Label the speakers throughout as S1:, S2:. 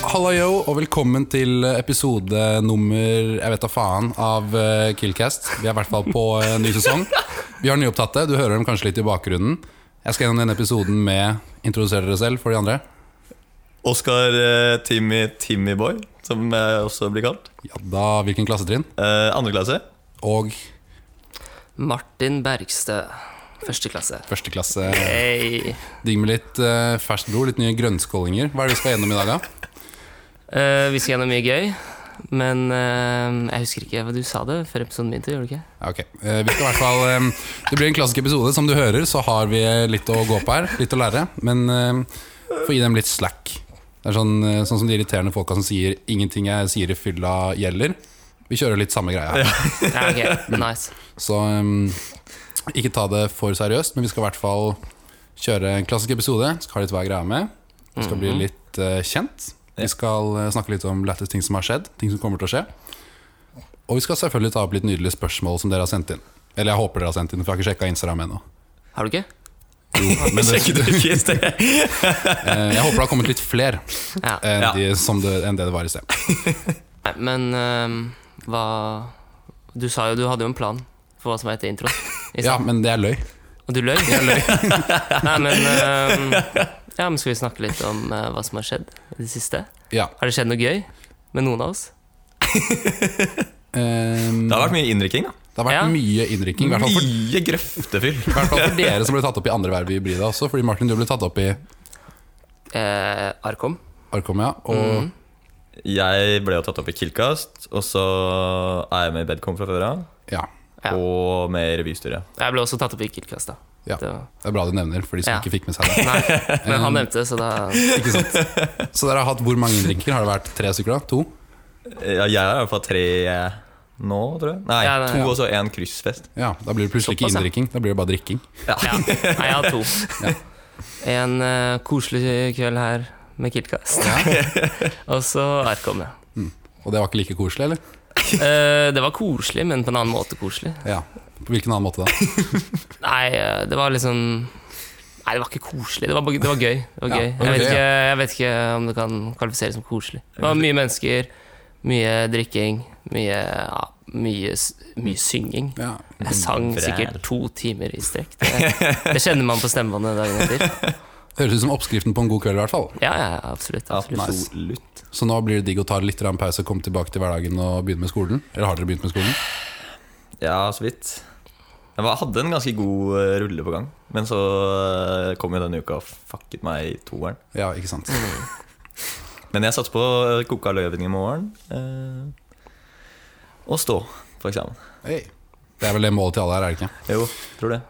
S1: og velkommen til eh, episode nummer Jeg vet da faen av eh, Killcast. Vi er i hvert fall på eh, ny sesong. Vi har nyopptatte. Du hører dem kanskje litt i bakgrunnen. Jeg skal gjennom denne episoden med Introduser dere selv for de andre.
S2: Oskar eh, Timmy Timmy Boy, som jeg også blir kalt.
S1: Ja da, hvilken klassetrinn?
S2: Eh, andre klasse.
S1: Og
S3: Martin Bergstø, første klasse.
S1: første klasse.
S3: Hey.
S1: Digg med litt eh, ferskt blod, litt nye grønnskålinger. Hva er det vi skal gjennom i dag, da?
S3: Eh, vi skal gjennom mye gøy, men eh, jeg husker ikke hva du sa det før episoden begynte. gjorde du ikke?
S1: Ja, Ok, Eh, vi skal i hvert fall eh, Det blir en klassisk episode. Som du hører, så har vi litt å gå på her. Litt å lære. Men eh, få gi dem litt slack. Det er sånn, eh, sånn som de irriterende folka som sier 'ingenting jeg sier i fylla, gjelder'. Vi kjører litt samme greia her.
S3: Ja, ok, nice.
S1: Så eh, ikke ta det for seriøst, men vi skal i hvert fall kjøre en klassisk episode. Skal ha litt hva greia med. Vi skal
S2: Mhm.
S1: bli litt eh, kjent. Vi skal eh, snakke litt om lættis ting som har skjedd, ting som kommer til å skje. Og vi skal selvfølgelig ta opp litt nydelige spørsmål som dere har sendt inn. Eller jeg håper dere har sendt inn, for jeg har ikke sjekka Instagram ennå.
S3: Har du ikke?
S1: Men det,
S2: Sjekket du ikke i sted?
S1: eh, jeg håper det har kommet litt flere
S3: Ja.
S1: enn,
S2: Ja.
S1: de, som det, enn det det var i sted.
S3: Nei, Men eh, hva Du sa jo du hadde jo en plan for hva som var etter introen. i
S1: Ja,
S3: stad.
S1: men det er løy.
S3: Og du løy. Nei, men eh, Ja, men Skal vi snakke litt om eh, hva som har skjedd i det siste?
S1: Ja.
S3: Har det skjedd noe gøy med noen av oss?
S1: Eh,
S2: Det har vært mye innrykking. da
S1: det har vært
S3: Ja.
S1: mye innrykking. I hvert fall for,
S2: Mye grøftefyll.
S1: i hvert fall for dere som ble tatt opp i andre verv i Hybrida også. Fordi Martin, du ble tatt opp i
S3: Eh, Arkom.
S1: Arkom, ja. Og
S3: Mhm.
S2: Jeg ble jo tatt opp i Killcast, og så er jeg med i Bedcom fra før av.
S1: ja.
S3: Ja.
S2: Og med i revystyret.
S3: Jeg ble også tatt opp i Killcast, da.
S1: Ja.
S3: Det var-
S1: Det er bra du nevner, for de som
S3: Ja.
S1: ikke fikk med seg det.
S3: Nei, men han nevnte det, så da
S1: Ikke sant? Så dere har hatt hvor mange innrykkinger? Har det vært tre stykker? da? To?
S2: Eh, Ja, jeg har i hvert fall tre nå, tror jeg. Nei,
S3: Ja, nei,
S2: to
S3: ja.
S2: og så én kryssfest.
S1: Ja, Da blir det plutselig ikke
S3: Såpass, ja.
S1: inndrikking, da blir det bare drikking.
S3: Ja. Nei, jeg har to. En eh, koselig kveld her med Killcast. og så Arkom, ja.
S1: Og det var ikke like koselig, eller?
S3: Eh, det var koselig, men på en annen måte koselig.
S1: Ja. På hvilken annen måte da?
S3: Nei, eh, det var liksom Nei, det var ikke koselig. Det var, bare- det var gøy. Det var
S1: Ja, det
S3: gøy.
S1: var
S3: Jeg, vet
S1: gøy,
S3: ikke, jeg vet ikke om det kan kvalifiseres som koselig. Det var mye mennesker, mye drikking, mye, ja, mye, s- mye synging.
S1: Ja.
S3: Jeg sang
S2: Vræl.
S3: sikkert to timer i strekk. Det, det kjenner man på stemmebåndet dagen etter.
S1: Høres ut som oppskriften på en god kveld, i hvert fall.
S3: Ja, ja, absolutt. absolutt.
S2: Absolutt.
S1: Så nå blir det digg å ta litt grann pause, komme tilbake til hverdagen og begynne med skolen? Eller har dere begynt med skolen?
S2: Ja, så vidt. Jeg var- hadde en ganske god eh, rulle på gang, men så eh, kom jo denne uka og fucket meg i toeren.
S1: Ja, ikke sant?
S2: Men jeg satser på å koke av løven i morgen. Eh, og stå på eksamen.
S1: Hei. Det er vel det målet til alle her, er det ikke?
S2: Jo, tror det.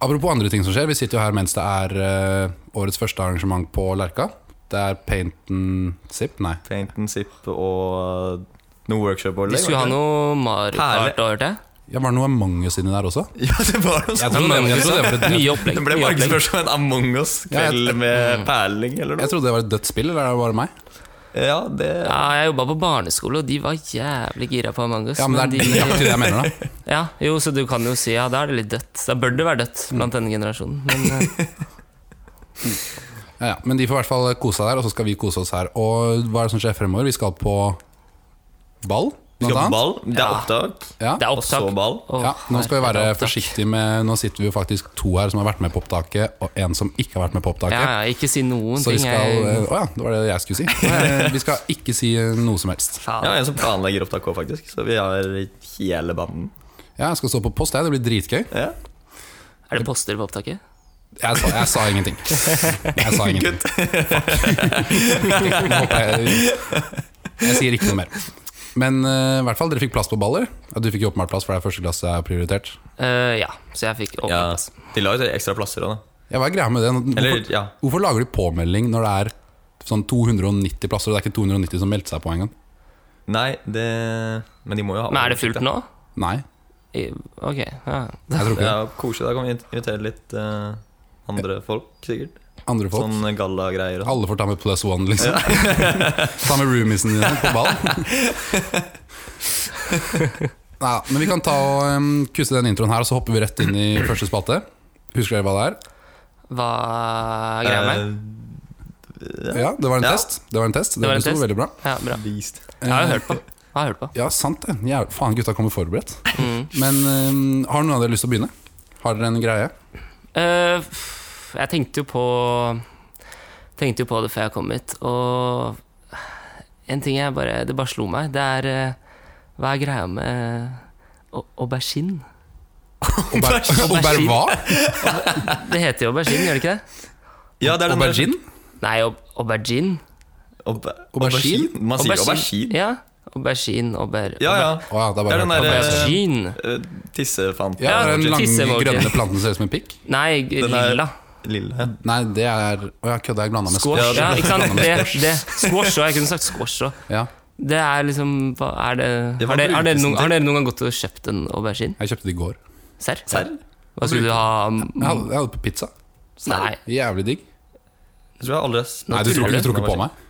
S1: Apropos andre ting som skjer, vi sitter jo her mens det er eh, årets første arrangement på Lerka. Det er Paint and Zip? Nei.
S2: Paint and zip og noe workshop.
S3: De skulle ha noe Mario Kart og det.
S1: Ja, var det noe Among us inni der også?
S2: Ja, det var noe
S1: Jeg
S2: sånt.
S1: tror-
S3: men
S1: jeg tror det var et-
S3: Mye opplegg.
S2: Det ble
S3: mye
S2: bare
S3: opplegg.
S2: spørsmål som en Among us-kveld med perling eller
S1: Jeg
S2: noe.
S1: trodde det var et dødt spill, eller er det bare meg?
S2: Ja, det
S3: Ja, jeg jobba på barneskole, og de var jævlig gira på Among us.
S1: Ja, men det er
S3: de,
S1: nøyaktig det jeg mener, da.
S3: ja, jo, så du kan jo si ja, da er det litt dødt. Da bør det være dødt blant denne generasjonen. Men eh,
S1: Ja, ja. Men de får i hvert fall kose seg der, og så skal vi kose oss her. Og hva er det som skjer fremover? Vi skal på ball, blant
S2: Vi skal på
S1: annet.
S2: ball. Det er opptak.
S1: Ja.
S3: det er
S2: Og så
S3: opptak.
S2: ball.
S3: Å,
S1: Ja, nå skal vi være
S3: herregud, det er opptak.
S1: forsiktige med Nå sitter vi jo faktisk to her som har vært med på opptaket, og en som ikke har vært med på
S3: Ja,
S1: opptaket.
S3: ja, ikke si noen
S1: Så vi
S3: ting.
S1: skal eh, Å
S3: jeg,
S1: ja, det var det jeg skulle si. Eh, Vi skal ikke si eh, noe som helst.
S3: faen.
S2: Ja, en som planlegger opptak òg, faktisk. Så vi har hele banden.
S1: Ja, jeg skal stå på post, jeg. Det blir dritgøy.
S2: Ja.
S3: Er det poster på opptaket?
S1: Jeg sa, jeg sa ingenting. Jeg sa ingenting.
S2: Kutt.
S1: Nå håper jeg, jeg sier ikke noe mer. Men eh, i hvert fall, dere fikk plass på baller. Ja, du fikk jo åpenbart plass, for det er første klasse er prioritert.
S3: Eh, ja, så jeg fikk
S2: Ja,
S3: overplass.
S2: de la jo til ekstra plasser òg, da.
S1: Ja, hva er greia med det?
S2: Eller,
S1: Hvorfor,
S2: ja.
S1: hvorfor lager de påmelding når det er sånn 290 plasser, og det er ikke 290 som meldte seg på engang?
S2: Nei, det Men de må jo ha
S3: Men er det fullt nå?
S1: Nei,
S3: I, ok, ja.
S1: jeg tror ikke
S2: Ja, koselig. Da kan vi invitere litt eh, andre folk, sikkert.
S1: det. Andre folk.
S2: Sånn gallagreier. og sånn.
S1: Alle får ta med plus one, liksom. ta med roomiesen dine på ball. Nei, men vi kan ta og em, kusse den introen her, og så hopper vi rett inn i første spalte. Husker dere hva det er?
S3: Hva er greia med?
S2: Eh,
S1: Ja, det var en
S2: Ja.
S1: test. Det var en test. Det,
S3: Det var en
S1: sto
S3: test.
S1: veldig bra. Eh,
S3: Ja, bra.
S2: Beast.
S3: Jeg har jo hørt på. Jeg har hørt på.
S1: Ja, sant det. Jævlig. Faen, gutta kommer forberedt.
S3: Mm.
S1: Men eh, har noen av dere lyst til å begynne? Har dere en greie?
S3: Eh, f- jeg tenkte jo på Tenkte jo på det før jeg kom hit, og en ting jeg bare Det bare slo meg. Det er eh, Hva er greia med au- aubergine?
S1: Og bær-
S3: sånn-
S1: og bær hva?
S3: Det heter jo aubergine, gjør det ikke det?
S2: Ja, det er den der-
S1: Aubergine?
S3: Nei, au- aubergine.
S2: Auber-
S1: Aubergine?
S2: Aubergine? Man sier aubergine.
S3: Ja. Aubergine, auber...
S2: Ja, ja.
S1: Å ja, det er
S2: Det
S1: bare
S2: er den der, eh,
S3: Aubergine.
S2: Eh, Tissefanten.
S1: Ja,
S3: Ja,
S1: den lange,
S3: tisseemoji.
S1: grønne planten som ser ut som en pikk?
S3: Nei, g-
S2: Den er-
S3: lilla.
S2: Lille.
S1: Nei, det er Å ja, kødda, jeg blanda med
S3: Squash.
S2: Ja, det-
S3: Ja, ikke sant? Det, det. Squash òg. Jeg kunne sagt squash òg.
S1: Ja,
S3: Det er liksom hva Er det
S2: Det var
S3: Har dere, har dere,
S2: brukes den
S3: noen,
S2: til.
S3: har dere noen gang gått og kjøpt en aubergine?
S1: jeg kjøpte det i går.
S3: Serr?
S2: Serr?
S3: Hva skulle du ha?
S1: Jeg hadde, jeg hadde på pizza.
S3: Nei.
S1: Jævlig digg.
S2: Jeg tror jeg aldri har s-
S1: Nei, du tror, du tror ikke på meg?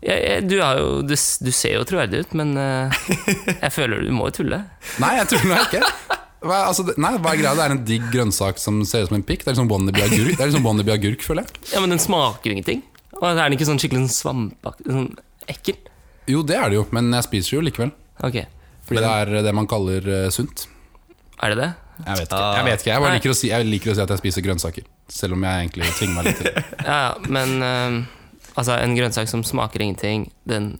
S3: Jeg, jeg, du, har jo, du, s- du ser jo troverdig ut, men eh, jeg føler du må jo tulle.
S1: Nei, jeg tror nå ikke. Hva, altså, det- nei, hva er greia? Det er en digg grønnsak som ser ut som en pikk. Det er liksom wannabe agurk, det er liksom wannabe agurk føler jeg.
S3: Ja, Men den smaker jo ingenting. Og er den ikke sånn skikkelig sånn svampaktig? Sånn ekkel?
S1: Jo, det er det jo, men jeg spiser jo likevel.
S3: Ok,
S1: Fordi det er det man kaller eh, sunt.
S3: er det det?
S1: Jeg vet ikke. Jeg, vet ikke. jeg bare
S3: Nei.
S1: liker å, si, jeg liker å si at jeg spiser grønnsaker. Selv om jeg egentlig tvinger meg litt til det.
S3: Ja, ja, men eh, altså, en grønnsak som smaker ingenting, den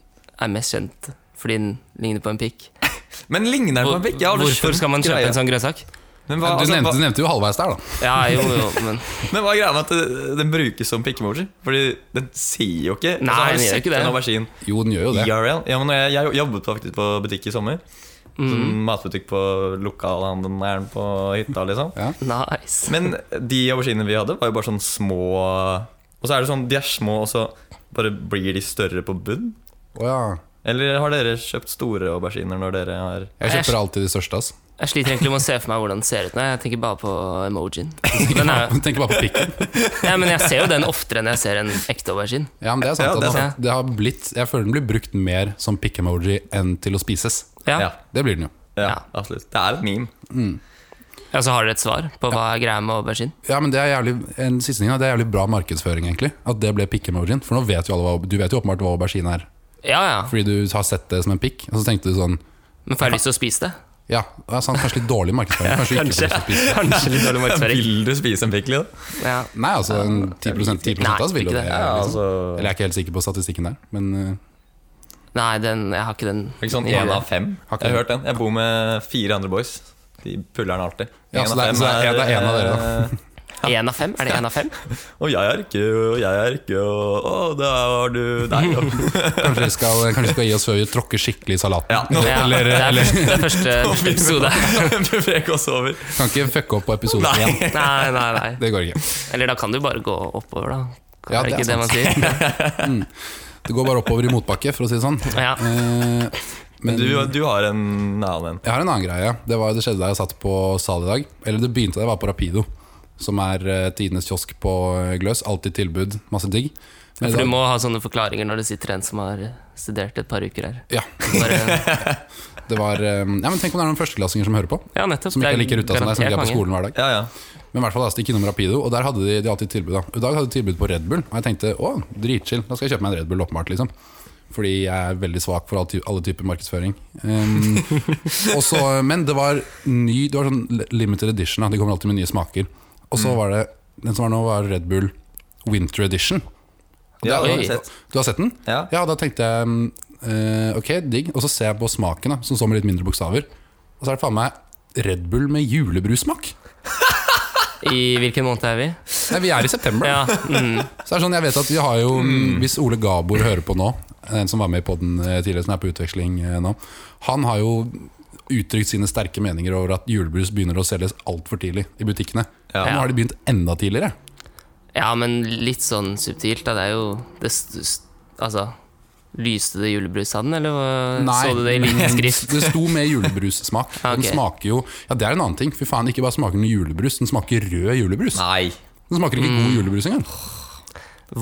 S3: er mest kjent fordi den ligner på en pikk.
S2: Men ligner den på en pikk? Jeg har aldri
S3: Hvorfor
S2: skjønt
S3: skal man kjøpe
S2: greia.
S3: en sånn grønnsak?
S2: Men hva,
S1: Du
S2: altså,
S1: nevnte,
S2: hva,
S1: du nevnte jo halvveis der, da.
S3: Ja, jo, jo, men
S2: men hva er greia med at eh, den brukes som pikkemoji? Fordi den sier jo ikke
S3: Nei,
S2: altså, har
S3: den
S2: du
S3: gjør
S2: sett
S3: ikke det.
S2: En aubergine
S1: Jo, den gjør jo det.
S2: IRL? Ja, men jeg, jeg jobbet faktisk på butikk i sommer.
S3: mm,
S1: Mhm.
S2: Sånn matbutikk på lokalhandelen på hytta, liksom.
S3: nice.
S2: Men de auberginene vi hadde, var jo bare sånn små Og så er det sånn, de er små, og så bare blir de større på bunn?
S1: Å ja.
S2: Eller har dere kjøpt store auberginer når dere har
S1: Jeg kjøper alltid de største, altså.
S3: Jeg sliter egentlig med å se for meg hvordan den ser ut nå. Jeg tenker bare på emojien. Den er,
S1: Tenker bare på pikken.
S3: ja, men jeg ser jo den oftere enn jeg ser en ekte aubergine.
S1: Ja, men det er sant.
S2: Ja, det er
S1: at
S3: sant.
S1: Det har blitt, jeg føler den blir brukt mer som pikk-emoji enn til å spises.
S3: Ja.
S2: Ja,
S1: Det blir den jo.
S2: ja,
S3: Ja.
S2: absolutt. Det er et meme.
S3: Ja, så har dere et svar på hva er greia med aubergine?
S1: Ja, men det er jævlig, en siste ting, da, det er jævlig bra markedsføring, egentlig. At det ble pikk-emojien. For nå vet jo alle hva, du vet jo åpenbart hva aubergine er.
S3: Ja, ja.
S1: Fordi du har sett det som en pikk, og så tenkte du sånn
S3: Men får jeg lyst til å spise det?
S1: Ja, det er sant, kanskje litt dårlig markedsføring. Kanskje du ikke får lyst til å spise.
S3: Kanskje litt dårlig markedsføring.
S2: Vil du spise en pikk, da?
S3: Ja.
S1: Nei, altså en 10, 10 av oss vil jo det.
S3: Nei, ikke det.
S2: Ja,
S1: liksom.
S2: altså
S1: Eller jeg er ikke helt sikker på statistikken der, men eh,
S3: Nei, den, jeg har ikke den.
S2: Ikke sånn
S3: i
S2: én
S3: hodet.
S2: av fem.
S1: Har ikke
S2: Jeg
S1: det.
S2: har hørt den. Jeg bor med fire andre boys. De puller den alltid.
S1: Ja,
S2: En
S1: så
S2: av
S1: det er-
S2: fem
S1: så det er- det er en av dere,
S2: eh,
S3: Én av fem? Er det én av fem?
S2: Og jeg er ikke, og jeg er ikke, og å, da har du deg, og
S1: kanskje vi skal, kanskje vi skal gi oss før vi tråkker skikkelig i salaten.
S2: Ja, nå-
S3: Ja,
S1: Eller,
S3: det er
S1: eller
S3: første- det er første første episode.
S2: Du brek oss over.
S1: kan ikke fucke opp på episoden
S2: Nei.
S1: igjen.
S3: Nei, nei, nei.
S1: Det går ikke.
S3: Eller da kan du bare gå oppover, da.
S1: Ja,
S3: Er det
S1: det er
S3: ikke det man sier?
S1: Det går bare oppover i motbakke, for å si det sånn.
S3: Ja.
S1: Eh, men
S2: Du,
S1: jeg
S2: du har en annen en.
S1: har en annen greie. Det, var, det skjedde da jeg satt på sal i dag. Eller det begynte da jeg var på Rapido, som er eh, tidenes kiosk på eh, Gløs. Alltid tilbud, masse digg. Men i
S3: For du
S1: dag-
S3: må ha sånne forklaringer når det sitter en som har studert et par uker her.
S1: Ja,
S3: Bare,
S1: det var eh, Ja, men Tenk om det er noen førsteklassinger som hører på.
S3: ja, nettopp.
S1: Som
S3: Det
S1: ikke
S3: er
S1: er like ruta som deg, som
S3: garantert
S1: ikke er på
S3: mange.
S1: skolen hver dag.
S2: Ja, ja.
S1: Men i hvert fall da, stikk innom Rapido, og der hadde de, de alltid tilbud. Da. I dag hadde de tilbud på Red Bull, og jeg tenkte å, dritchill, da skal jeg kjøpe meg en Red Bull, åpenbart. liksom fordi jeg er veldig svak for all ty- alle typer markedsføring. Um, og så- men det var ny Det var sånn limited edition. Da. De kommer alltid med nye smaker. Og så var det Den som var nå, var Red Bull Winter Edition. Og
S2: ja det
S1: da-
S2: har jeg sett.
S1: Du har sett den?
S2: Ja.
S1: Ja, da tenkte jeg mm, eh, Ok, digg. Og så ser jeg på smaken, da, som står med litt mindre bokstaver. Og så er det faen meg Red Bull med julebrussmak.
S3: I hvilken måned er vi?
S1: Nei, vi er i september. da.
S3: Ja, mm,
S1: Så er det sånn, jeg vet at vi har jo Hvis Ole Gabor hører på nå En som var med i podden eh, tidligere Som er på utveksling eh, nå Han har jo uttrykt sine sterke meninger Over at julebrus begynner å selges alt for tidlig I butikkene
S2: Ja.
S1: Nå har de begynt enda tidligere
S3: ja, men litt sånn subtilt. Da. Det er jo det, st- st- Altså, lyste det julebrusanden, eller hva- Eh, så du det i liten skrift?
S1: Det sto med julebrussmak
S3: Ja, ok.
S1: Den smaker jo Ja, det er en annen ting Fy faen, ikke bare smaker den julebrus Den smaker rød julebrus
S2: Nei.
S1: Den smaker ikke
S3: Mm.
S1: god julebrus engang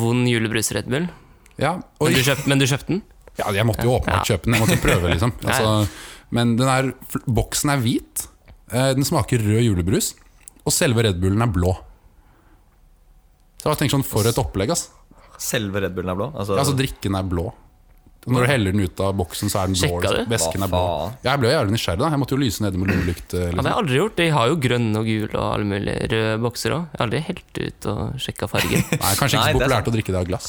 S3: Vond julebrus Red Bull.
S1: Ja, og
S3: Men du, kjøpt, men du kjøpte den?
S1: Ja, jeg måtte jo åpenbart kjøpe den. Jeg måtte jo prøve, liksom. Altså, men den er, fl- boksen er hvit. eh, Den smaker rød julebrus. Og selve Red Bullen er blå. Så jeg tenker sånn, For et opplegg, ass.
S2: Selve Red Bullen er blå? Altså,
S1: Ja, altså drikken er blå. Når du heller den ut av boksen, så er den blå.
S3: Sjekka
S1: liksom.
S3: du?
S1: Væsken er
S2: Hva
S1: blå.
S2: faen?
S1: Ja, Jeg ble jævlig nysgjerrig. da Jeg måtte jo lyse nede med lommelykt. eh,
S3: Ja, det
S1: Liksom.
S3: har jeg aldri gjort. De har jo grønn og gul og alle mulige røde bokser òg. Jeg har aldri helt ut og sjekka fargen.
S1: Nei, kanskje ikke
S2: Nei,
S1: så
S2: det er
S1: populært
S2: sant.
S1: å drikke det av glass.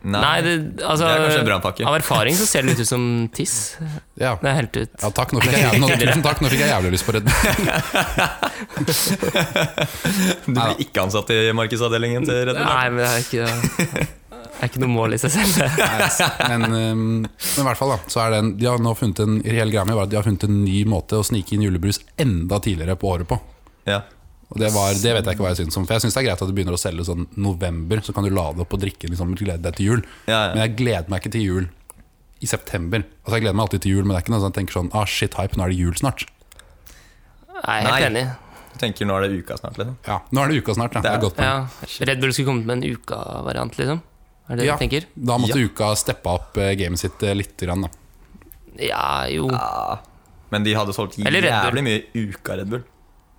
S2: nei,
S3: Nei, det, altså,
S2: Det er kanskje en brannpakke.
S3: Av erfaring så ser den ut som tiss.
S1: Ja,
S3: Det er helt ut.
S1: ja takk, nå fikk jeg jævlig, nå, tusen takk, nå fikk jeg jævlig lyst på Red Bull.
S2: Du blir ikke ansatt i markedsavdelingen til Red Bull?
S3: Nei, men det er ikke, det er ikke noe mål i seg selv. det.
S1: Men, ehm, men i hvert fall da Så er det en, De har nå funnet en reell greie med bare at De har funnet en ny måte å snike inn julebrus enda tidligere på året på
S2: Ja.
S1: Og det, var, det vet jeg ikke hva jeg synes om For jeg synes det er greit at du begynner å selge sånn november Så kan du lade opp og drikke liksom, og glede deg til jul
S2: Ja, ja.
S1: Men jeg gleder meg ikke til jul i september Altså jeg gleder meg alltid til jul Men det er ikke noe sånn at jeg tenker sånn Ah shit hype, nå er det jul snart
S3: Nei, jeg er helt
S2: Nei.
S3: enig.
S2: Du tenker nå er det uka snart, liksom?
S1: Ja, nå er det uka snart da Det er et godt poeng
S3: Ja, Red Bull skulle kommet med en uka-variant, liksom. Er det det
S1: Ja.
S3: du tenker?
S1: Da måtte uka steppe opp eh, gamet sitt eh, litt grann, da.
S3: Ja, jo.
S2: Ja. Men de hadde solgt
S3: Eller Red Bull.
S2: jævlig mye uka Red Bull.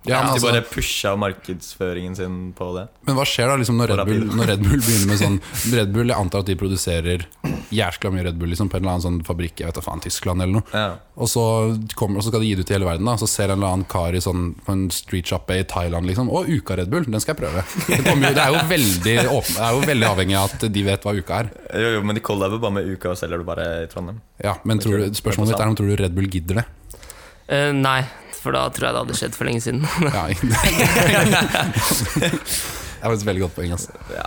S1: Ja, men
S2: de
S1: altså-
S2: bare pusha markedsføringen sin på det.
S1: Men hva skjer da liksom, når, Red
S2: Rapid.
S1: Bull, når Red Bull begynner med sånn Red Bull, Jeg antar at de produserer jæskla mye Red Bull liksom, på en eller annen sånn fabrikk Jeg vet da faen, Tyskland eller noe.
S2: Ja.
S1: Og så, kommer, og så skal de gi det ut til hele verden. da Så ser en eller annen kar i sånn, på en streetshoppe i Thailand liksom Å, Uka Red Bull, den skal jeg prøve. Det, kommer, jo- det, er, jo veldig åpen, det er jo veldig avhengig av at de vet hva Uka er.
S2: Jo, jo, men de collaber bare med uka og selger det bare i Trondheim.
S1: Ja, Men tror du, spørsmålet mitt er om tror du Red Bull gidder det.
S3: Eh, nei, for da tror jeg det hadde skjedd for lenge siden.
S1: Ja, det er faktisk et veldig godt poeng. Altså.
S2: Ja.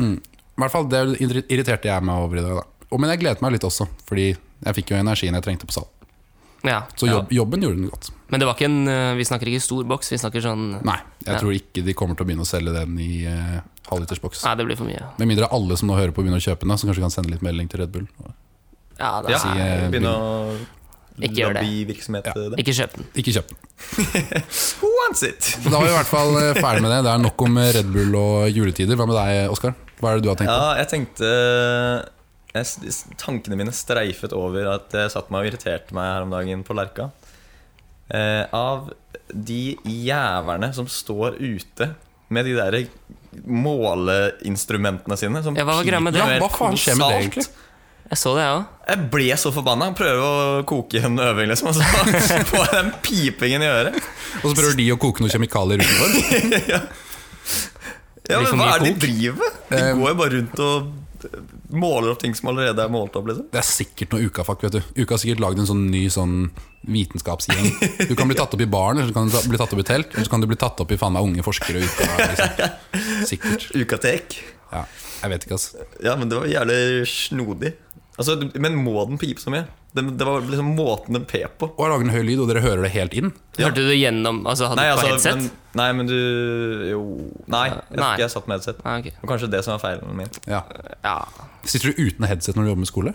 S1: Mm. I hvert fall, Det irri- irriterte jeg meg over i dag. Da. Og, men jeg gledet meg litt også, Fordi jeg fikk jo energien jeg trengte på salg.
S3: ja.
S1: Så jobb, jobben gjorde den godt.
S3: Men det var ikke en eh, Vi snakker ikke stor boks, vi snakker sånn Nei,
S1: Nei, jeg
S3: Ja.
S1: tror ikke de kommer til å begynne å selge den i eh, halvlitersboks.
S3: det blir for mye.
S1: Med mindre alle som nå hører på, begynner å kjøpe den, da, så kanskje kan sende litt melding til Red Bull.
S3: Ja, det
S2: Ja,
S3: er,
S1: eh,
S2: Begynne å
S3: Ikke gjør det.
S2: lobbyvirksomhet i det.
S3: Ikke kjøp den.
S1: Ikke kjøp den.
S2: eh, Who wants it?
S1: Da var vi i hvert fall eh, ferdig med det. Det er nok om eh, Red Bull og juletider. Hva med deg, Oskar? Hva er det du har tenkt på?
S2: Ja, jeg tenkte jeg, s- Tankene mine streifet over at jeg satt meg og irriterte meg her om dagen på Lerka. Eh, av de jævlene som står ute med de der måleinstrumentene sine. Som
S3: Ja, hva var greia med det?
S2: piper
S1: Ja, hva
S2: helt
S1: faen skjer med det
S2: kolossalt.
S1: egentlig?
S3: Jeg så det, jeg òg.
S2: Jeg ble så forbanna. Prøve å koke en øving, liksom. Og så får jeg den pipingen i øret.
S1: Og så prøver de å koke noen kjemikalier utenfor.
S2: Ja,
S3: Blir for
S2: men Hva
S3: mye
S2: er det de driver med? De
S1: Eh,
S2: går jo bare rundt og måler opp ting som allerede er målt opp. liksom
S1: Det er sikkert noe ukafakk, vet du. Uka har sikkert lagd en sånn ny sånn vitenskapsgjeng. Du kan bli tatt opp i baren, eller så kan du ta, bli tatt opp i telt, eller så kan du bli tatt opp i faen meg unge forskere. i Uka, liksom. Sikkert.
S2: Ukatek.
S1: Ja, jeg vet ikke, altså.
S2: Ja, men det var jævlig snodig. Altså, Men må den pipe så mye? Det, det var liksom måten den pep på.
S1: Og jeg lager en høy lyd, og dere hører det helt inn.
S2: Ja.
S3: Hørte du det gjennom Altså, hadde du på headset?
S2: men, nei, men du Jo. Nei, jeg, tror
S3: Nei.
S2: ikke jeg satt med headset.
S3: Ah, ok.
S2: Det var Kanskje det som var feilen min.
S1: Ja.
S3: Ja.
S1: Sitter du uten headset når du jobber med skole?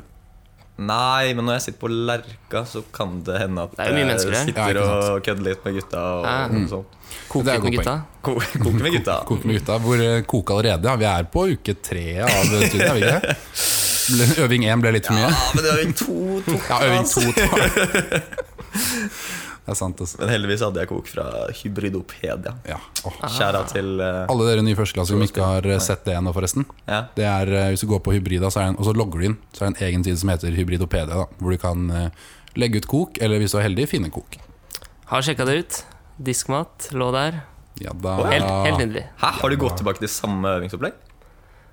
S2: Nei, men når jeg sitter på Lerka, så kan det hende at
S3: Det er jo mye
S2: jeg
S3: mennesker der. Ah.
S1: Ja,
S2: sitter
S1: ikke sant.
S2: og kødder litt med gutta. Og,
S3: Ja.
S2: og sånt.
S1: Det er
S3: Koke
S1: et
S3: med
S1: godt
S3: gutta?
S1: poeng.
S2: Ko- Koke med gutta.
S1: Koke med gutta. Hvor eh, koke allerede. Ja, vi er på uke tre av studiet, er vi ikke det? Ble- Øving én ble litt for mye.
S2: Ja, Ah, men det er øving to. to
S1: Ja, øving
S2: altså.
S1: to tar Det er sant, altså.
S2: Men heldigvis hadde jeg kok fra Hybridopedia.
S1: Ja. Åh.
S3: Ah.
S2: Skjæra til eh,
S1: Alle dere nye førsteklassinger som ikke har eh, sett det ennå, forresten.
S2: Ja.
S1: Det er, eh, Hvis du går på Hybrida så er det en, og så logger du inn, så er det en egen side som heter Hybridopedia. Da, hvor du kan eh, legge ut kok, eller hvis du er heldig, finne kok.
S3: Har sjekka det ut. Diskmat lå der.
S1: Ja, da,
S3: Helt, helt nydelig.
S2: Hæ, har du gått tilbake til samme øvingsopplegg?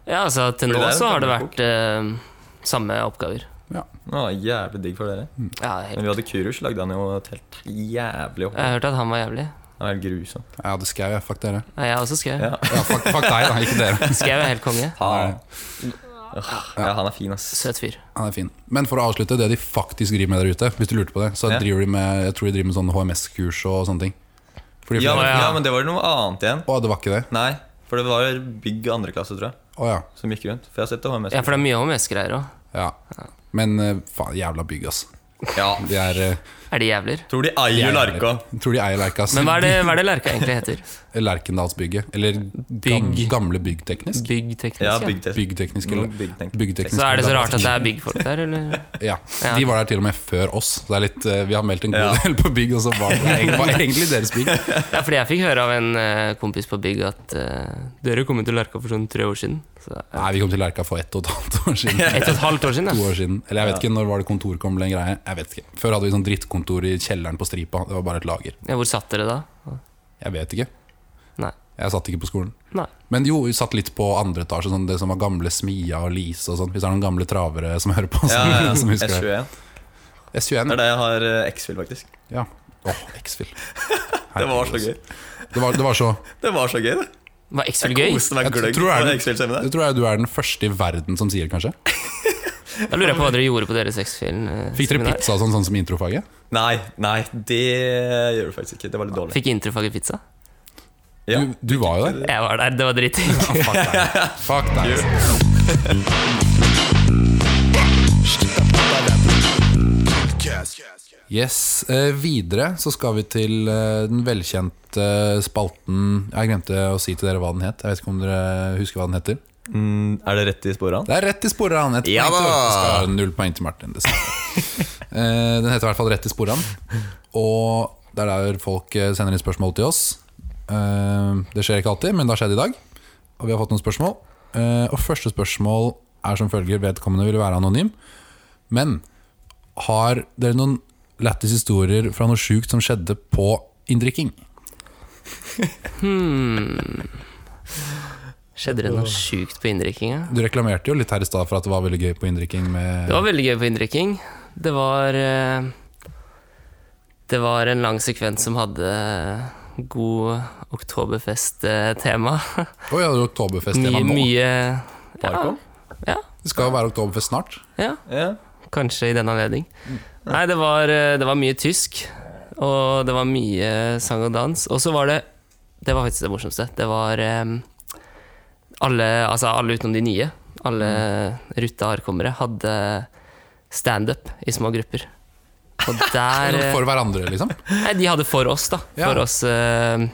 S3: Ja, altså, til
S2: Fordi
S3: nå
S2: det er jo
S3: så har det
S2: samme
S3: vært eh, samme oppgaver.
S1: ja.
S2: Å, jævlig digg for dere.
S3: Ja, helt
S2: Når vi hadde Kurus, lagde han jo et helt jævlig opp.
S3: Jeg hørte at han var jævlig.
S2: Det var helt grusomt.
S1: Jeg hadde skau, jeg. Fuck dere.
S3: Ja, jeg er også skau.
S2: Ja.
S1: Ja, fuck, fuck deg, da. Ikke dere.
S3: Skau er helt konge.
S2: Faen. Åh, Ja, han er fin, ass.
S3: Søt fyr.
S1: Han er fin. Men for å avslutte, det de faktisk driver med der ute, hvis du lurte på det, så
S2: Ja.
S1: driver de med Jeg tror de driver med sånn HMS-kurs og sånne ting. Fordi,
S2: Ja, men,
S3: ja.
S2: ja, men det var noe annet igjen.
S1: Å, det var ikke det?
S2: Nei, for det var bygg andre klasse, tror jeg,
S1: Å ja.
S2: som gikk rundt. For jeg har sett det HMS.
S3: Ja, for det er mye HMS-greier òg.
S1: ja. Men eh, faen, jævla bygg, ass.
S2: Ja.
S1: De er eh,
S3: Er de jævler?
S2: Tror de eier Larka.
S1: Tror de eier Lerkas.
S3: Men hva er det, hva er det Lerka egentlig heter?
S1: Lerkendalsbygget. Eller gam,
S3: Bygg.
S1: gamle byggteknisk.
S3: Byggteknisk?
S2: Ja,
S3: Ja,
S2: byggtest.
S1: Byggteknisk. Eller,
S2: Byggteknisk.
S1: byggteknisk
S3: Så er det så
S1: eller-
S3: rart at det er byggfolk der, eller?
S1: Ja,
S3: Ja.
S1: De var der til og med før oss. Så det er litt, eh, vi har meldt en god
S2: Ja.
S1: del på bygg, og så var det egentlig, var egentlig deres bygg.
S3: Ja, fordi jeg fikk høre av en eh, kompis på bygg at eh, dere kom jo til Lerka for sånn tre år siden. Så, ja.
S1: Nei, vi kom til Lerka for ett og et halvt år siden.
S3: Et og et halvt år siden,
S1: To
S3: ja.
S1: år siden. Eller jeg vet ikke, når var det kontor kom ble en greie? Jeg vet ikke. Før hadde vi sånn drittkontor i kjelleren på Stripa. Det var bare et lager.
S3: ja. Hvor satt dere da?
S1: Jeg vet ikke.
S3: Nei.
S1: Jeg satt ikke på skolen.
S3: Nei.
S1: Men jo, vi satt litt på andre etasje, sånn det som var gamle Smia og Lise og sånn. Hvis det er noen gamle travere som hører på,
S2: Ja,
S1: som,
S2: ja,
S1: som husker det.
S2: S21.
S1: S21.
S2: Det er det jeg har eh, X-Fill, faktisk.
S1: Ja. Åh, X-Fil.
S2: Det var så gøy.
S1: Det var, det var så
S2: Det var så gøy, det.
S3: Var X-Fill
S2: Jeg
S3: gøy?
S2: koste meg
S1: Jeg
S2: gløgg
S1: tror jeg er
S2: på
S1: den-
S2: X-Fill-seminar.
S1: Det tror jeg du er den første i verden som sier, kanskje.
S3: Da lurer jeg på hva dere gjorde på deres X-Fill. eh,
S1: Fikk dere
S3: seminar.
S1: pizza og sånn, sånn som i introfaget?
S2: Nei, nei, det gjør du faktisk ikke. Det var litt dårlig.
S3: Fikk introfaget pizza?
S2: Ja.
S1: Du, du var jo der. Ah,
S3: Jeg var der, det var dritt.
S1: Fuck deg. Fuck deg. altså. Yes, eh, Videre så skal vi til eh, den velkjente spalten Jeg glemte å si til dere hva den het. Jeg vet ikke om dere husker hva den heter.
S2: Mm, er det rett i sporene?
S1: Det er rett i sporet, han. Et
S2: Ja
S1: poeng til-
S2: da!
S1: skal ha Null poeng til Martin. Det skal jeg. Eh, den heter i hvert fall Rett i sporet. Og det er der folk eh, sender inn spørsmål til oss. Eh, det skjer ikke alltid, men det har skjedd i dag. Og vi har fått noen spørsmål. Eh, og første spørsmål er som følger. Vedkommende vil være anonym. Men har dere noen lættis historier fra noe sjukt som skjedde på inndrikking?
S3: Skjedde det noe sjukt på inndrikkinga?
S1: Du reklamerte jo litt her i stad for at det var veldig gøy på inndrikking. med-
S3: Det var veldig gøy på inndrikking. Det var eh, Det var en lang sekvens som hadde god eh, oktoberfest-tema.
S1: Å ja, det var oktoberfest-tema
S3: Mye,
S1: nå.
S3: mye ja,
S2: Parkom?
S1: Det skal jo være oktoberfest snart.
S3: ja,
S2: Ja.
S3: kanskje i den anledning.
S1: Mm.
S3: Nei, det var, eh, det var mye tysk, og det var mye sang og dans. Og så var det Det var faktisk det morsomste. Det var eh, alle, altså alle utenom de nye, alle
S1: Mm.
S3: rutta hardkommere, hadde standup i små grupper. Og der eh,
S1: For hverandre, liksom.
S3: Nei, de hadde for oss, da.
S1: Ja.
S3: For oss, eh,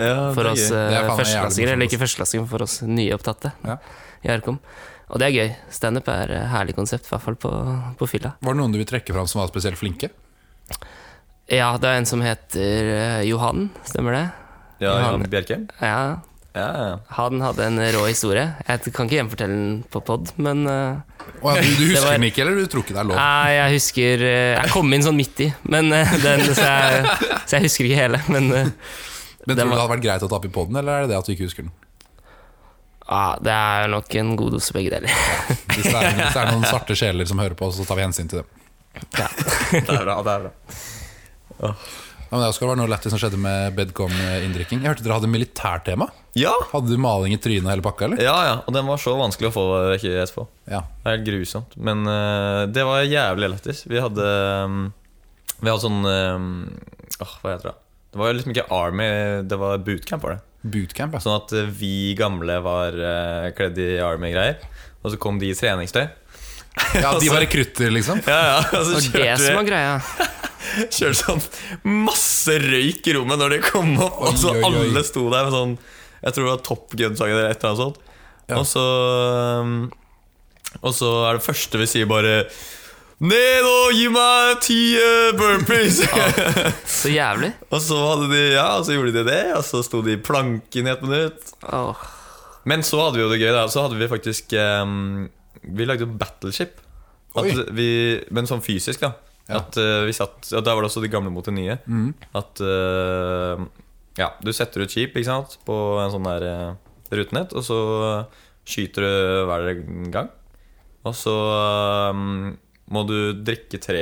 S2: Ja,
S3: for
S2: det er
S3: oss
S2: gøy.
S1: Sånn Det er faen meg
S3: eh,
S1: jævlig
S3: førsteklassinger. Eller
S1: morsomt,
S3: ikke førsteklassinger, men for oss nyopptatte
S1: Ja.
S3: i Arkom. Og det er gøy. Standup er et herlig konsept, i hvert fall på, på fylla.
S1: Var det noen du vil trekke fram som var spesielt flinke?
S3: Ja, det er en som heter eh, Johan, stemmer det?
S2: Ja, Johan Bjerkheim?
S3: Ja,
S2: Ja, ja.
S3: han hadde en rå historie. Jeg kan ikke gjenfortelle den på pod, men eh,
S1: Å, ja, du, du
S3: Det
S1: husker
S3: var-
S1: den ikke, eller du tror ikke det er lov?
S3: Nei, jeg husker eh, Jeg kom inn sånn midt i, men eh, den, så, jeg, så jeg husker ikke hele. Men eh,
S1: Men tror du
S3: den var-
S1: det hadde vært greit å ta opp i poden, eller er det det at du ikke husker den?
S3: ah, det er nok en god dose begge deler.
S1: Hvis det er, hvis det er noen svarte sjeler som hører på, så tar vi hensyn til dem.
S2: Det er bra. det er bra
S1: Ja, men det skal være noe lættis som skjedde med Bedcom-inndrikking. Jeg hørte dere hadde militærtema.
S2: Ja,
S1: Hadde du maling i trynet og hele pakka, eller?
S2: ja, ja. Og den var så vanskelig å få vekk i etterpå.
S1: Ja.
S2: Det er helt grusomt. Men eh, det var jævlig lættis. Vi hadde mm, Vi hadde sånn eh, åh, Hva heter det? Det var jo liksom ikke Army, det var bootcamp. var det
S1: Bootcamp, altså. ja.
S2: Sånn at eh, vi gamle var eh, kledd i Army-greier. Og så kom de i treningstøy.
S1: ja. De
S2: Altså-
S1: var rekrutter, liksom.
S2: Ja, ja, og så
S3: Og det som
S2: kjørte vi
S3: var greia.
S2: kjørte sånn masse røyk i rommet når de kom opp, og så
S1: Oi, oi, oi.
S2: alle sto der med sånn Jeg tror det var Top Gun-sangen eller et eller annet sånt.
S1: Ja.
S2: Og så um, Og så er det første vi sier, bare Ned og gi meg ti eh, burpees!
S3: Så jævlig.
S2: og så hadde de, ja, og så gjorde de det, og så sto de i planken i et minutt.
S3: Åh.
S2: Men så hadde vi jo det gøy, da. Så hadde vi faktisk ehm, Vi lagde jo battleship. At
S1: Oi.
S2: vi, men sånn fysisk, da.
S1: Ja.
S2: At eh, vi satt ja, Der var det også de gamle mot de nye.
S1: Mm.
S2: At eh, Ja, du setter ut skip ikke sant, på en sånn der eh, rutenett, og så skyter du hver gang. Og så ehm, må du drikke tre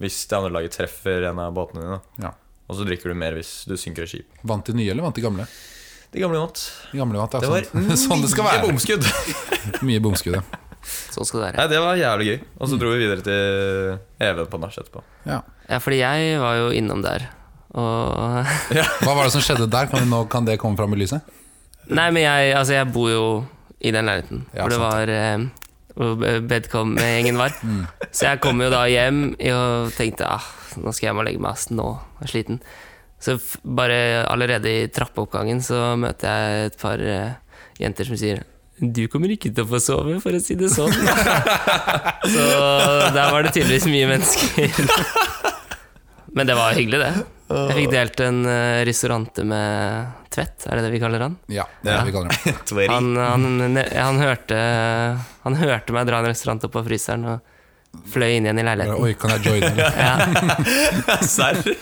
S2: hvis det andre laget treffer en av båtene dine. da.
S1: Ja.
S2: Og så drikker du mer hvis du synker et skip.
S1: Vant de nye, eller vant de gamle?
S2: De gamle vant.
S1: De gamle vant,
S2: Det
S1: ja.
S2: var
S1: Sånn, sånn det skal
S2: mye
S1: være.
S2: bomskudd.
S1: Mye bomskudd, ja.
S3: Sånn skal det være.
S2: Nei, Det var jævlig gøy. Og
S1: Mm.
S2: så dro vi videre til Even på nach etterpå.
S1: ja.
S3: Ja, fordi jeg var jo innom der. Og
S1: Hva var det som skjedde der? Kan, vi nå, kan det komme fram i lyset?
S3: Nei, men jeg, altså, jeg bor jo i den leiligheten.
S1: Ja,
S3: hvor
S1: sant.
S3: det
S1: Mm.
S3: var eh, hvor Bedcom-gjengen var. Så jeg kom jo da hjem og tenkte ah, nå skal jeg hjem og legge meg, ass. Nå er jeg sliten. Så f bare allerede i trappeoppgangen så møter jeg et par eh, jenter som sier du kommer ikke til å få sove, for å si det sånn. så der var det tydeligvis mye mennesker. Men det var hyggelig, det. Jeg fikk delt en eh, restaurante med Tvedt, er det det vi kaller han?
S1: Ja, det er det vi kaller det.
S2: Tveri.
S3: Han, han, ne- han, hørte, han hørte meg dra en restaurant opp av fryseren og fløy inn igjen i
S1: Bare,
S3: leiligheten.
S1: Oi, kan jeg joine? eller?
S2: Serr?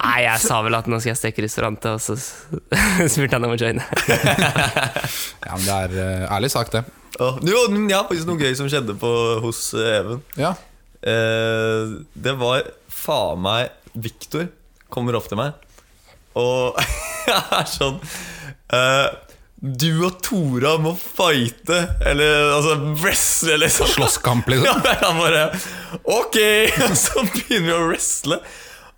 S3: Nei, jeg sa vel at nå skal jeg steke restaurant, og så s- spurte han om å joine.
S1: Ja, men det er eh, ærlig sagt, det.
S2: Åh, Jo, men jeg har faktisk noe gøy som skjedde på, hos eh, Even.
S1: Ja.
S2: Eh, det var faen meg Victor kommer opp til meg og er sånn eh, Du og Tora må fighte, eller altså wrestle, liksom.
S1: Slåsskamp,
S2: Ja,
S1: liksom.
S2: han bare Ok! Og så begynner vi å wrestle.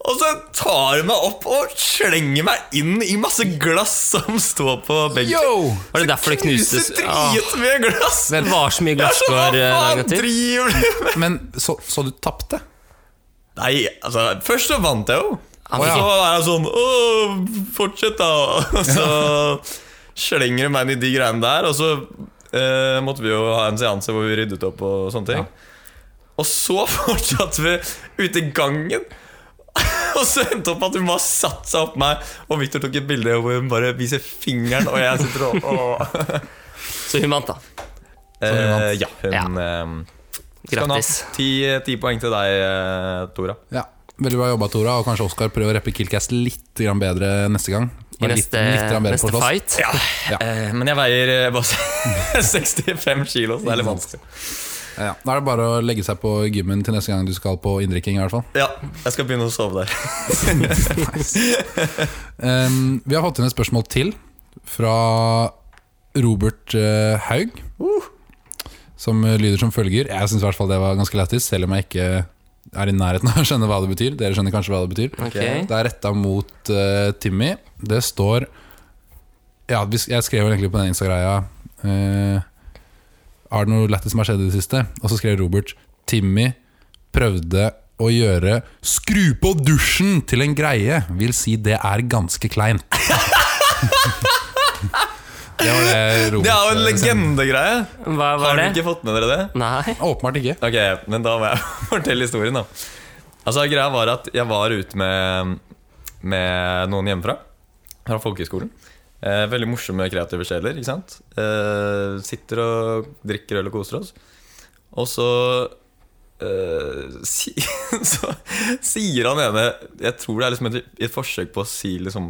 S2: Og så tar hun meg opp og slenger meg inn i masse glass som står på benken.
S1: Yo!
S3: Var det derfor det Ah. knustes?
S2: Knuser
S3: Åh,
S2: dritmye glass!
S3: det var så
S2: Jeg er
S3: mye
S2: sånn,
S3: glasskår
S2: hva
S3: eh, dagen
S2: faen
S3: etter.
S2: driver du med?
S1: Men så, så du tapte?
S2: Nei, altså, først så vant jeg jo. Og
S1: men-
S2: så er jeg sånn Åh, fortsett, da. Og så slenger hun meg inn i de greiene der. Og så eh, måtte vi jo ha en seanse hvor vi ryddet opp og sånne ting. Og så fortsatte vi ute i gangen. Og så endte det opp at hun bare satte seg opp meg, og Victor tok et bilde hvor hun bare viser fingeren, og jeg sitter og åh.
S3: Så hun vant, da.
S1: hun vant.
S2: Eh, ja, hun eh, skal nå ha
S3: Grattis.
S2: ti, ti poeng til deg, eh, Tora.
S1: Ja. Veldig bra jobba, Tora. Og kanskje Oskar prøver å reppe Killcast litt grann bedre neste gang.
S3: I
S1: Være
S3: neste,
S1: litt, litt grann bedre på
S3: neste
S1: slåss.
S3: fight.
S2: Ja,
S1: Ja.
S2: eh, men jeg veier eh, bare 65 kilo, så det er litt vanskelig.
S1: Ja, da er det bare å legge seg på gymmen til neste gang du skal på inndrikking. i hvert fall
S2: Ja, jeg skal begynne å sove der.
S1: Ehm, Vi har fått inn et spørsmål til fra Robert eh, Haug. Som eh, lyder som følger. Jeg syns i hvert fall det var ganske lættis, selv om jeg ikke er i nærheten av å skjønne hva det betyr. Dere skjønner kanskje hva det betyr.
S3: Ok.
S1: Det er retta mot eh, Timmy. Det står Ja, vi- jeg skrev vel egentlig på den Insta-greia eh, Har det noe lættis som har skjedd i det siste? Og så skrev Robert Timmy prøvde å gjøre 'skru på dusjen' til en greie. Vil si det er ganske kleint. det var det Robert
S2: Det er jo
S1: eh,
S2: en
S1: sendte.
S2: legendegreie.
S3: Hva
S2: Har
S3: var
S2: dere
S3: det?
S2: ikke fått med dere det?
S3: Nei.
S1: Åpenbart ikke.
S2: Ok, men da må jeg fortelle historien, da. Altså, greia var at jeg var ute med, med noen hjemmefra. Fra folkehøyskolen. Eh, veldig morsomme, kreative sjeler. ikke sant? Eh, sitter og drikker øl og koser oss. Og så eh, si, Så sier han ene Jeg tror det er liksom et, et forsøk på å si liksom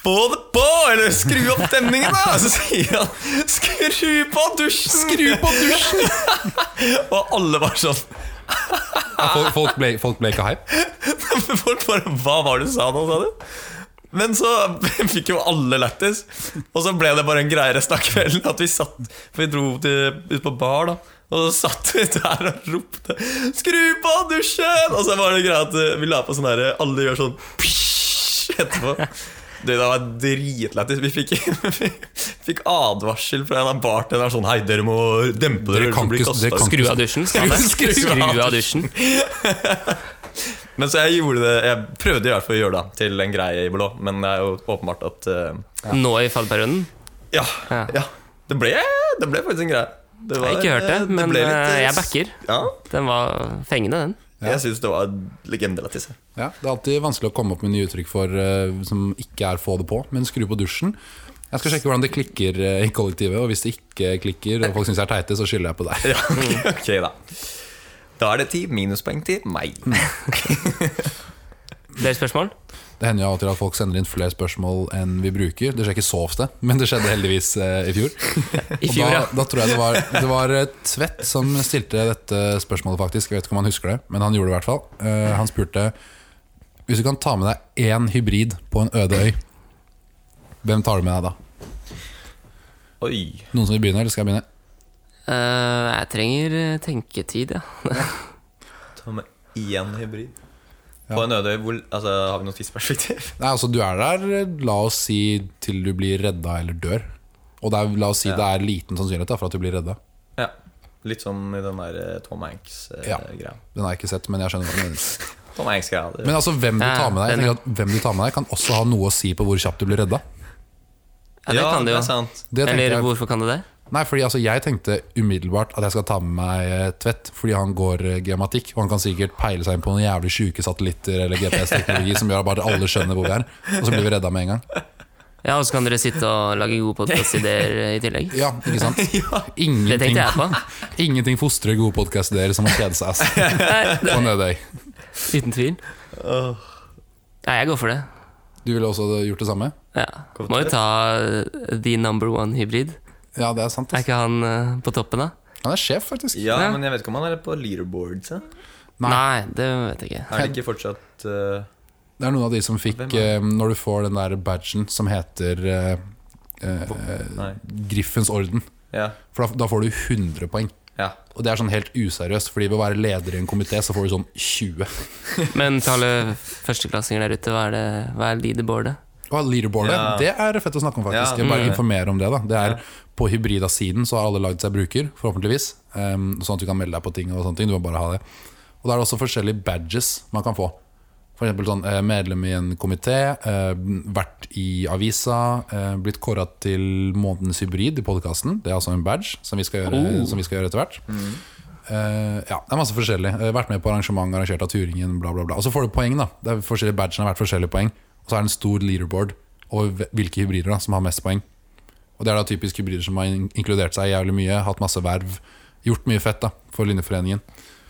S2: Få det på! Eller skru opp stemningen, da! Så sier han Skru på dusjen! Skru på dusjen! og alle var sånn
S1: Ja, Folk, folk, ble, folk ble ikke hype.
S2: Men Folk bare Hva var det du sa nå, sa du? Men så fikk jo alle lættis. Og så ble det bare en greie resten av kvelden. At vi satt For vi dro til, ut på bar, da. Og så satt vi der og ropte 'Skru på dusjen!' Og så var det greia at eh, vi la på sånn derre Alle gjør sånn pysj etterpå. Det, det var dritlættis. Vi fikk, vi fikk advarsel fra en av bartenderne sånn 'Hei, dere må dempe dere.'
S1: Dere
S2: ellers
S1: kan
S2: så blir
S1: ikke- dere kan
S2: kastet ut.»
S3: Skru av dusjen, skal han det?
S2: Skru av
S3: Skru av dusjen.
S2: Men så jeg gjorde det Jeg prøvde i hvert fall å gjøre det til en greie i blå, men det er jo åpenbart at eh,
S3: Nå i fallperioden.
S2: ja, ja.
S3: Ja.
S2: det, ble, det ble faktisk en greie. Det
S3: Jeg har ikke hørt det,
S2: eh,
S3: men
S2: ble litt,
S3: eh,
S2: eh,
S3: jeg backer.
S2: Ja,
S3: Den var fengende, den.
S2: Jeg syns det var legendelættis.
S1: Ja, Det er alltid vanskelig å komme opp med nye uttrykk for eh, som ikke er få det på, men skru på dusjen. Jeg skal sjekke hvordan det klikker eh, i kollektivet, og hvis det ikke klikker, og folk syns jeg er teite, så skylder jeg på deg.
S2: Ja,
S3: Mm.
S2: ok, ok, da. Da er det ti minuspoeng til meg.
S3: Mm. Flere spørsmål?
S1: Det hender jo av og til at folk sender inn flere spørsmål enn vi bruker. Det skjer ikke så ofte, men det skjedde heldigvis eh, i fjor.
S3: I
S1: Og
S3: fjor,
S1: da,
S3: ja.
S1: da tror jeg det var, det var eh, Tvedt som stilte dette spørsmålet, faktisk. Jeg vet ikke om han husker det, men han gjorde det i hvert fall. Eh, han spurte hvis du kan ta med deg én hybrid på en øde øy, hvem tar du med deg da?
S2: Oi.
S1: Noen som vil begynne, eller skal jeg begynne?
S3: Eh, jeg trenger eh, tenketid, ja.
S2: Ta med én hybrid. På en øde øy, hvor altså, har vi noe tidsperspektiv?
S1: Nei, altså du er der, la oss si til du blir redda eller dør. Og det er, la oss si det er liten sannsynlighet da, for at du blir redda.
S2: Ja. Litt som i den der eh, Tom
S1: Ja.
S2: Hanks-greia.
S1: Den har jeg ikke sett, men jeg skjønner hva du mener.
S2: Tom Hanks-greia det-
S1: Men altså, hvem du
S3: Ja,
S1: tar med deg, jeg
S3: den-
S1: tenker at hvem du tar med deg kan også ha noe å si på hvor kjapt du blir redda.
S3: Ja, det kan det
S2: er
S3: jo.
S2: sant.
S1: Det tenker
S3: Eller
S1: jeg-
S3: hvorfor kan det det?
S1: Nei, fordi altså, Jeg tenkte umiddelbart at jeg skal ta med meg eh, Tvedt, fordi han går eh, geomatikk. Og han kan sikkert peile seg inn på noen jævlig sjuke satellitter eller GPS-teknologi som gjør at bare alle skjønner hvor vi er, og så blir vi redda med en gang.
S3: Ja, og så kan dere sitte og lage gode podkast-ideer i tillegg.
S1: Ja, ikke sant?
S3: Det
S1: Ingenting,
S3: tenkte jeg på.
S1: ingenting fostrer gode podkast-ideer som å kjede seg ass,
S3: Nei,
S1: på en øde øy.
S3: Uten tvil. Nei, jeg går for det.
S1: Du ville også gjort det samme?
S3: Ja. Må jo ta eh, the number one hybrid.
S1: Ja, det er sant.
S3: Er
S1: ass.
S3: ikke han eh, på toppen, da?
S1: Han er sjef, faktisk.
S2: Ja,
S3: Ja.
S2: men jeg vet ikke om han er på leaderboard. Så.
S1: Nei.
S3: Nei, det vet jeg ikke.
S2: Er det ikke fortsatt eh,
S1: Det er noen av de som fikk
S2: Hvem er
S1: eh, Når du får den der badgen som heter eh, eh,
S2: Nei.
S1: Griffens orden,
S2: Ja.
S1: for da, da får du 100 poeng.
S2: ja.
S1: Og det er sånn helt useriøst, fordi ved å være leder i en komité, så får du sånn 20.
S3: Men til alle førsteklassinger der ute, hva er, det, hva er leaderboardet?
S1: Og leaderboardet,
S2: Ja.
S1: det er fett å snakke om, faktisk.
S2: Ja,
S1: Jeg vil bare
S2: mm.
S1: informere om det, da. Det er På Hybrida-siden så har alle lagd seg bruker, forhåpentligvis. ehm, sånn at du kan melde deg på ting og sånne ting. Du må bare ha det. Og da er det også forskjellige badges man kan få. F.eks. sånn eh, medlem i en komité, eh, vært i avisa, eh, blitt kåra til månedens hybrid i podkasten. Det er altså en badge som vi skal gjøre, som vi skal gjøre etter hvert. Eh, ja, det er masse forskjellig. Eh, vært med på arrangement, arrangert av Turingen, bla, bla, bla. Og så får du poeng, da. Det er forskjellige badgene har vært forskjellige poeng. Og så er det en stor leaderboard over hve- hvilke hybrider da, som har mest poeng. Og det er da typisk hybrider som har in- inkludert seg jævlig mye, hatt masse verv, gjort mye fett da, for Linjeforeningen.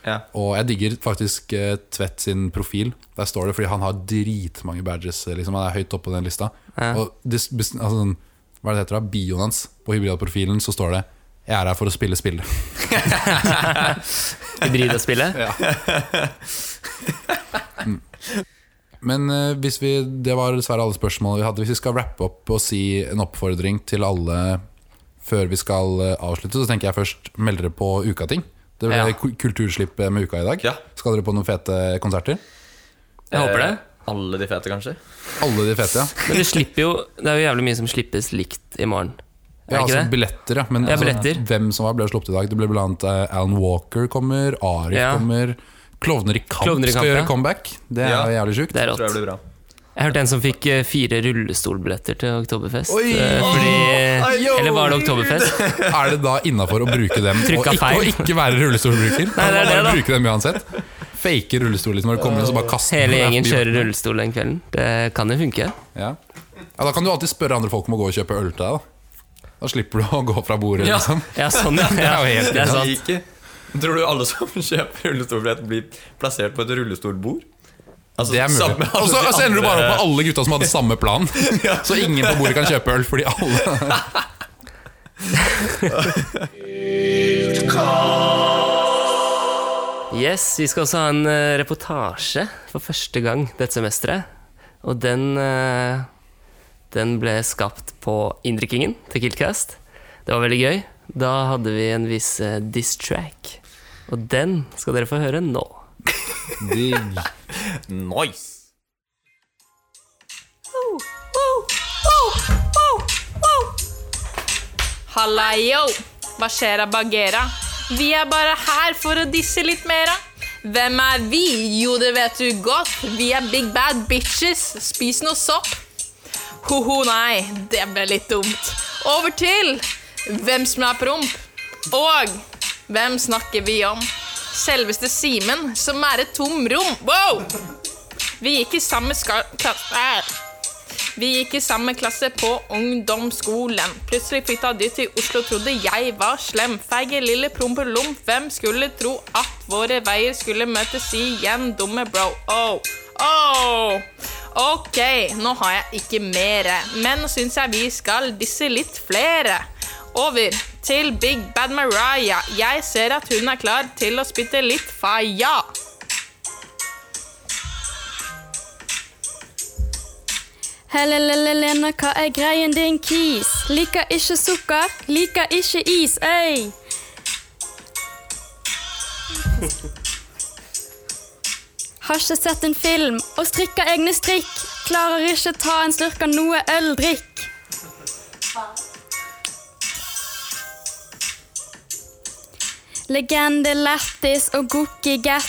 S2: ja.
S1: Og jeg digger faktisk eh, Tvedt sin profil. Der står det fordi han har dritmange badges. eh, Liksom. Han er høyt oppe på den lista.
S3: Ja.
S1: Og dis, bes- altså, sånn, hva er det det heter da? Bioen hans på hybridprofilen så står det 'Jeg er her for å spille spillet'.
S3: Hybridaspillet?
S1: Men eh, hvis vi, det var dessverre alle spørsmålene vi hadde. Hvis vi skal rappe opp og si en oppfordring til alle før vi skal eh, avslutte, så tenker jeg først meld dere på Ukating. Det ble
S3: Ja.
S1: ku- kulturslipp med uka i dag.
S2: Ja.
S1: Skal dere på noen fete konserter?
S3: Jeg håper det.
S2: Eh, Alle de fete, kanskje?
S1: Alle de fete, ja.
S3: Men det slipper jo Det er jo jævlig mye som slippes likt i morgen. Er
S1: ja
S3: det ikke
S1: altså
S3: det?
S1: billetter, ja. Men
S3: Ja,
S1: altså,
S3: billetter.
S1: hvem som var, ble sluppet i dag? Det ble blant annet eh, Alan Walker kommer, Arif
S3: Ja.
S1: kommer. Klovner i kamp
S3: Klovner i
S1: skal
S3: kamp,
S1: gjøre
S3: ja.
S1: comeback. Det er
S2: Ja.
S1: jo jævlig sjukt.
S3: Det er
S2: Tror jeg
S3: rått.
S2: blir bra.
S3: Jeg hørte en som fikk eh, fire rullestolbilletter til Oktoberfest.
S1: Oi!
S3: eh, Fordi
S2: Oi!
S3: Eller var det Oktoberfest?
S1: Er det da innafor å bruke dem og
S3: Trykka
S1: ikke, og
S3: feil.
S1: ikke være rullestolbruker? Kan man
S3: det er det,
S1: bare
S3: da.
S1: bruke dem uansett Fake rullestol liksom, når du kommer inn, så bare kaster
S3: Hele
S1: den.
S3: gjengen kjører rullestol den kvelden. Det kan jo funke.
S1: Ja. ja, Da kan du alltid spørre andre folk om å gå og kjøpe øl til deg. Da, da slipper du å gå fra bordet.
S3: Ja,
S1: Liksom.
S3: ja sånn, ja.
S1: er jo helt
S3: Det er sånn.
S2: Jeg
S3: sant.
S2: liker- Tror du alle som kjøper rullestolbillett, blir plassert på et rullestolbord? Altså,
S1: Det er
S2: sammen
S1: mulig.
S2: med alle
S1: Og så
S2: de
S1: og så ender du
S2: andre-
S1: bare opp med alle gutta som hadde samme plan. Så ingen på bordet kan kjøpe øl fordi alle
S3: Yes, vi skal også ha en eh, reportasje for første gang dette semesteret. Og den, eh, den ble skapt på inndrikkingen til Kiltcast. Det var veldig gøy. Da hadde vi en viss eh, diss track. Og den skal dere få høre nå.
S1: Digg.
S2: Eh, Nice!
S4: Halla, yo! Hva skjer'a Bagheera? Vi er bare her for å disse litt mera. Hvem er vi? Jo, det vet du godt. Vi er big bad bitches. Spis noe sopp. Ho-ho, nei. Det ble litt dumt. Over til hvem som er promp. Og hvem snakker vi om? Selveste Simen, som er et tom rom. Wow! Vi gikk i samme skal... Æ. Vi gikk i samme klasse på ungdomsskolen. Plutselig flytta de til Oslo, trodde jeg var slem. Feige lille prompelom, hvem skulle tro at våre veier skulle møtes igjen, dumme bro? Oh. Oh. Ok, nå har jeg ikke mere, men nå syns jeg vi skal disse litt flere. Over til Big Bad Mariah. Jeg ser at hun er klar til å spytte litt faya.
S5: Helle-lelle-lene, hva er greien din, kis? Liker ikke sukker, liker ikke is, øy! Har ikke sett en film og strikker egne strikk. Klarer ikke ta en slurk av noe øl, drikk. Legende lættis og Gookie Get.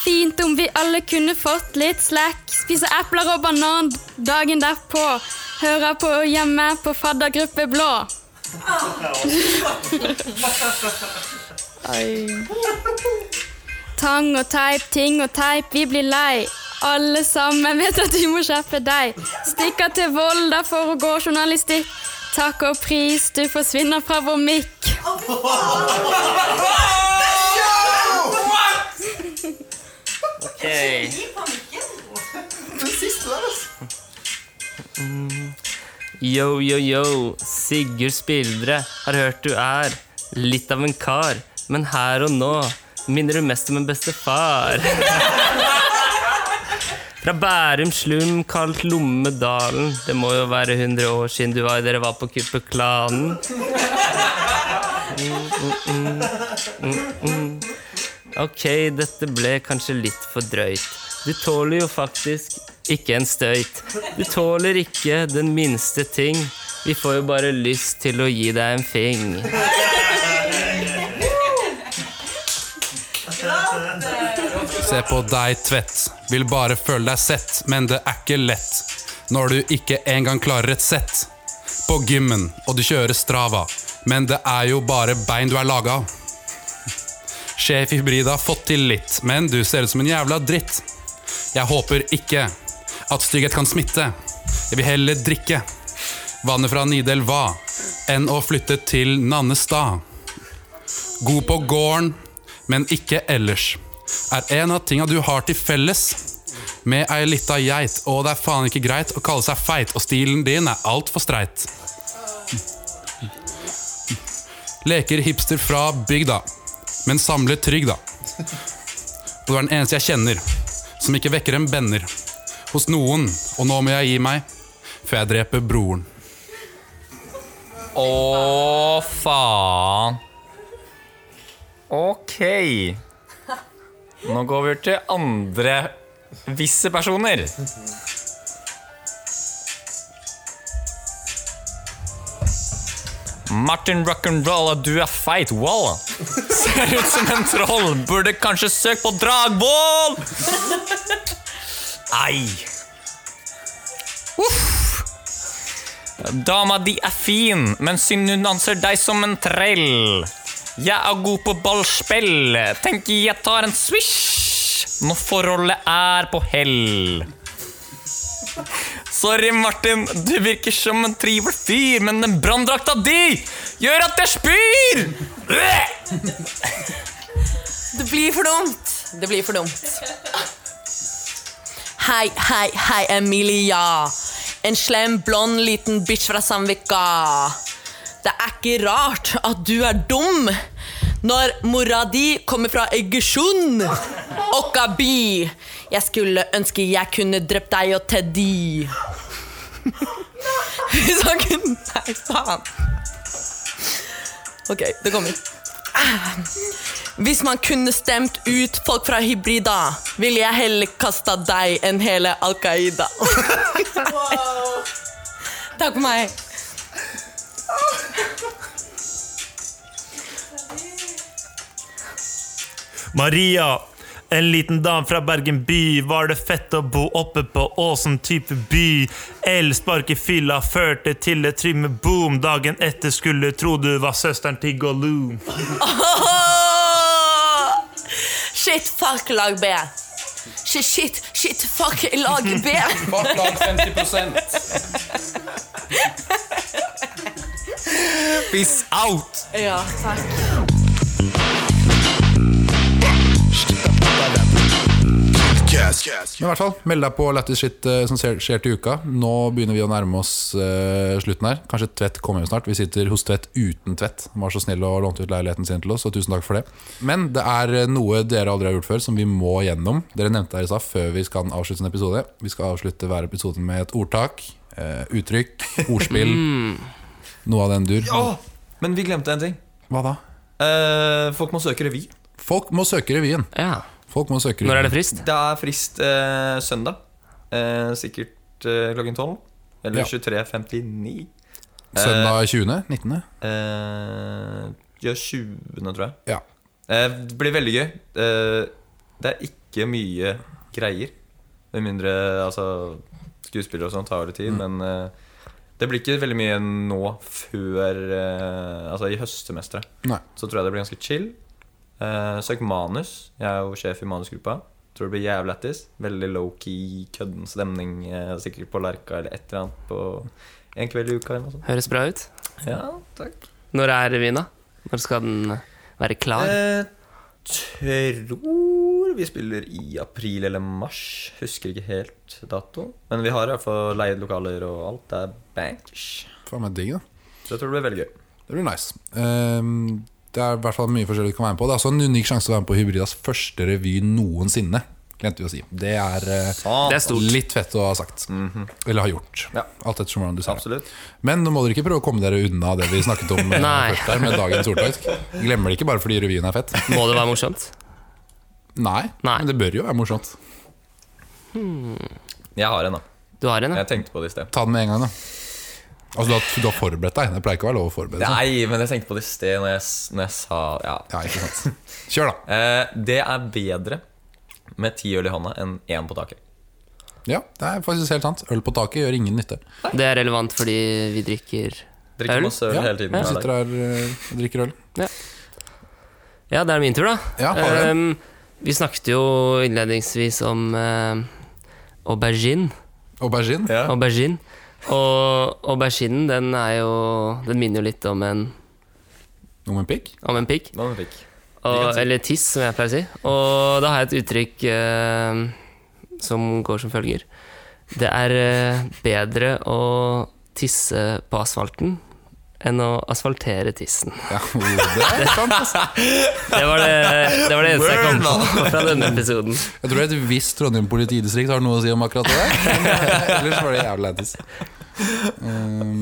S5: Fint om vi alle kunne fått litt slack. Spise epler og banan dagen derpå. Høre på hjemme på faddergruppe blå. Tang og teip, ting og teip, vi blir lei. Alle sammen vet at vi må skjerpe deg. Stikker til Volda for å gå journalistikk. Takk og pris, du forsvinner fra vår mikk.
S3: Yo, yo, yo, Sigurd Spildre, har hørt du er litt av en kar, men her og nå minner du mest om en bestefar. Fra Bærum slum, kalt Lommedalen. Det må jo være 100 år siden du var, dere var på kuppet Klanen. Ok, dette ble kanskje litt for drøyt. Du tåler jo faktisk ikke en støyt. Du tåler ikke den minste ting. Vi får jo bare lyst til å gi deg en fing.
S1: Se på deg, Tvedt. Vil bare føle deg sett, men det er ikke lett. Når du ikke engang klarer et sett. På gymmen, og du kjører strava. Men det er jo bare bein du er laga av. Sjef i Hybrida har fått til litt, men du ser ut som en jævla dritt. Jeg håper ikke at stygghet kan smitte. Jeg vil heller drikke vannet fra Nidelva enn å flytte til Nannestad. God på gården, men ikke ellers. Er en av tinga du har til felles med ei lita geit, og det er faen ikke greit å kalle seg feit, og stilen din er altfor streit. Leker hipster fra bygda, men samler trygg, da. Og du er den eneste jeg kjenner som ikke vekker en bender hos noen, og nå må jeg gi meg før jeg dreper broren.
S2: Å, faen. Ok. Nå går vi over til andre visse personer. Martin Rock'n'Roll, du er feit. Walla. Ser ut som en troll. Burde kanskje søkt på Dragvoll! Ei. Dama di er fin, men synd hun anser deg som en trell. Jeg er god på ballspill. Tenker jeg tar en swish når forholdet er på hell. Sorry, Martin. Du virker som en trivelig fyr, men den branndrakta di gjør at jeg spyr! Øh!
S6: Det blir for dumt. Det blir for dumt. Hei, hei, hei, Emilia. En slem, blond liten bitch fra Samvika. Det er ikke rart at du er dum når mora di kommer fra Egersund. Okka by. Jeg skulle ønske jeg kunne drept deg og Teddy. Hvis han kunne Nei, faen. Ok, det kommer. Hvis man kunne stemt ut folk fra Hybrida, ville jeg heller kasta deg enn hele Al Qaida. Takk for meg.
S7: Maria, en liten dam fra Bergen by. Var det fett å bo oppe på åsen type by? Elspark i fylla førte til et trymmeboom. Dagen etter skulle tro du var søsteren til Gollum.
S6: Åh! Shit, fuck lag B. Shit, shit, shit, fuck lag B.
S1: Bak lag 50
S2: Peace out!
S6: Ja, takk.
S1: Men i hvert fall, meld deg på Lættis shit eh, som skjer skjer til uka. Nå begynner vi å nærme oss eh, slutten her. Kanskje Tvedt kommer hjem snart. Vi sitter hos Tvedt uten Tvedt. Han var så snill og lånte ut leiligheten sin til oss, og tusen takk for det. Men det er eh, noe dere aldri har gjort før, som vi må gjennom. Dere nevnte det her i stad før vi skal avslutte en episode. Vi skal avslutte hver episode med et ordtak, eh, uttrykk, ordspill. Noe av den dur.
S2: Men vi glemte en ting.
S1: Hva da?
S2: Eh, folk må søke revy.
S1: Folk må søke revyen.
S3: Ja.
S1: Folk må søke revyen.
S3: Når er det frist?
S2: Det er frist eh, søndag. Eh, sikkert eh, klokken 12. Eller
S1: Ja.
S2: 23.59.
S3: Eh.
S1: Søndag 20. 19.
S2: Eh, ja, 20., tror jeg.
S1: Ja.
S2: Eh, Det blir veldig gøy. Eh, Det er ikke mye greier. Med mindre altså, skuespillere og sånn tar det tid. Men eh, det blir ikke veldig mye nå før eh, Altså i høstsemesteret.
S1: Nei.
S2: Så tror jeg det blir ganske chill. Eh, Søk manus. Jeg er jo sjef i manusgruppa. Tror det blir jævlig lættis. Veldig low-key, kødden stemning. eh, Sikkert på Lerka eller et eller annet på en kveld i uka eller noe sånt.
S3: Høres bra ut.
S2: Ja, takk.
S3: Når er revyen, da? Når skal den være klar?
S2: Jeg Eh, tror vi spiller i april eller mars. Husker ikke helt datoen. Men vi har i hvert fall leid lokaler og alt. Det er bankers.
S1: Faen meg digg, da.
S2: Så jeg tror det blir veldig gøy.
S1: Det blir nice. Ehm, det er i hvert fall mye forskjellig du kan være med på. Det er også en unik sjanse til å være med på Hybridas første revy noensinne. Glemte vi å si. Det er, eh,
S3: Det er stort.
S1: litt fett å ha sagt. Eller ha gjort.
S2: Mhm. Ja.
S1: Alt ettersom hvordan du ser det.
S2: Absolutt.
S1: Men nå må dere ikke prøve å komme dere unna det vi snakket om eh,
S3: Nei.
S1: først her med dagens ordtak. Glemmer det ikke bare fordi revyen er fett.
S3: Må det være morsomt?
S1: Nei,
S3: Nei.
S1: men det bør jo være morsomt.
S2: Jeg har en, da.
S3: Du har en, ja?
S2: Jeg tenkte på det i sted.
S1: Ta den med en gang, da. Altså, du har, du har forberedt deg. Det pleier ikke å være lov å forberede seg.
S2: Nei, men jeg tenkte på det i sted når jeg, s- når jeg sa ja.
S1: Ja, ikke sant. Kjør, da.
S2: Eh, det er bedre med ti øl i hånda enn én på taket.
S1: Ja, det er faktisk helt sant. Øl på taket gjør ingen nytte.
S3: Det er relevant fordi vi drikker
S2: Drikker
S3: Øl?
S2: masse øl
S1: Ja,
S2: hele tiden.
S1: Du
S2: hver
S1: sitter
S2: dag.
S1: her eh, og drikker øl.
S3: Ja, det er min tur, da.
S1: Ja, har du
S3: Ehm, vi snakket jo innledningsvis om eh, aubergine.
S1: Aubergine.
S2: Ja.
S3: aubergine. Og auberginen, den er jo Den minner jo litt om en,
S1: Om en pikk.
S3: om en pikk.
S2: Nå fikk.
S3: Og, eller tiss, som jeg pleier å si. Og da har jeg et uttrykk eh, som går som følger. Det er eh, bedre å tisse på asfalten enn å asfaltere tissen.
S1: Ja, oh, det er sant. ass.
S3: Det var det, det, var det eneste jeg kom på fra denne episoden.
S1: Jeg tror et visst Trondheim politidistrikt har noe å si om akkurat det der. Men, eh, Ellers var det jævlig lættis. Um,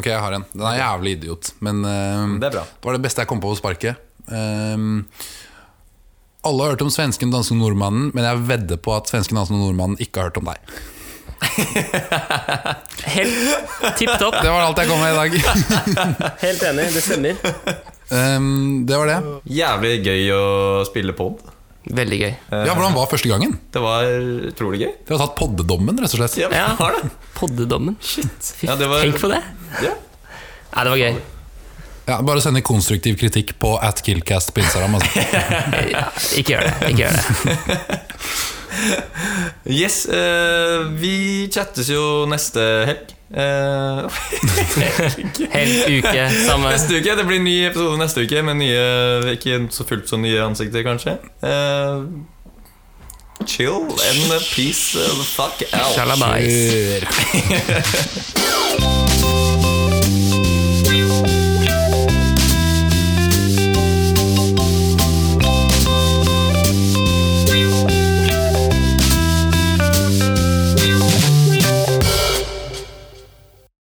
S1: ok, jeg har en. Den er jævlig idiot, men um,
S2: Det er bra.
S1: det var det beste jeg kom på på sparket. Um, alle har hørt om svensken danse med nordmannen, men jeg vedder på at svensken danse med nordmannen ikke har hørt om deg.
S3: Helt tipp topp.
S1: Det var alt jeg kom med i dag.
S3: Helt enig, det stemmer.
S1: Um, det var det.
S2: Jævlig gøy å spille pod.
S3: Veldig gøy.
S1: Ja, Hvordan var første gangen?
S2: Det var utrolig gøy.
S1: Dere har tatt poddedommen, rett og slett.
S2: Ja,
S3: Ja.
S2: har det.
S3: Poddedommen. Shit. Fy,
S2: Ja, det var-
S3: Tenk på det.
S2: Ja.
S3: Nei, det var gøy.
S1: Ja, bare sende konstruktiv kritikk på at Killcast på Instagram. Altså.
S3: Ikke gjør det. Ikke gjør det.
S2: Yes, eh, vi chattes jo neste helg. Eh,
S3: Hel uke, samme.
S2: neste uke, Det blir ny episode neste uke med nye Ikke så fullt så nye ansikter, kanskje. Eh, chill and peace the fuck out.
S3: Shalabais.
S1: Kjør.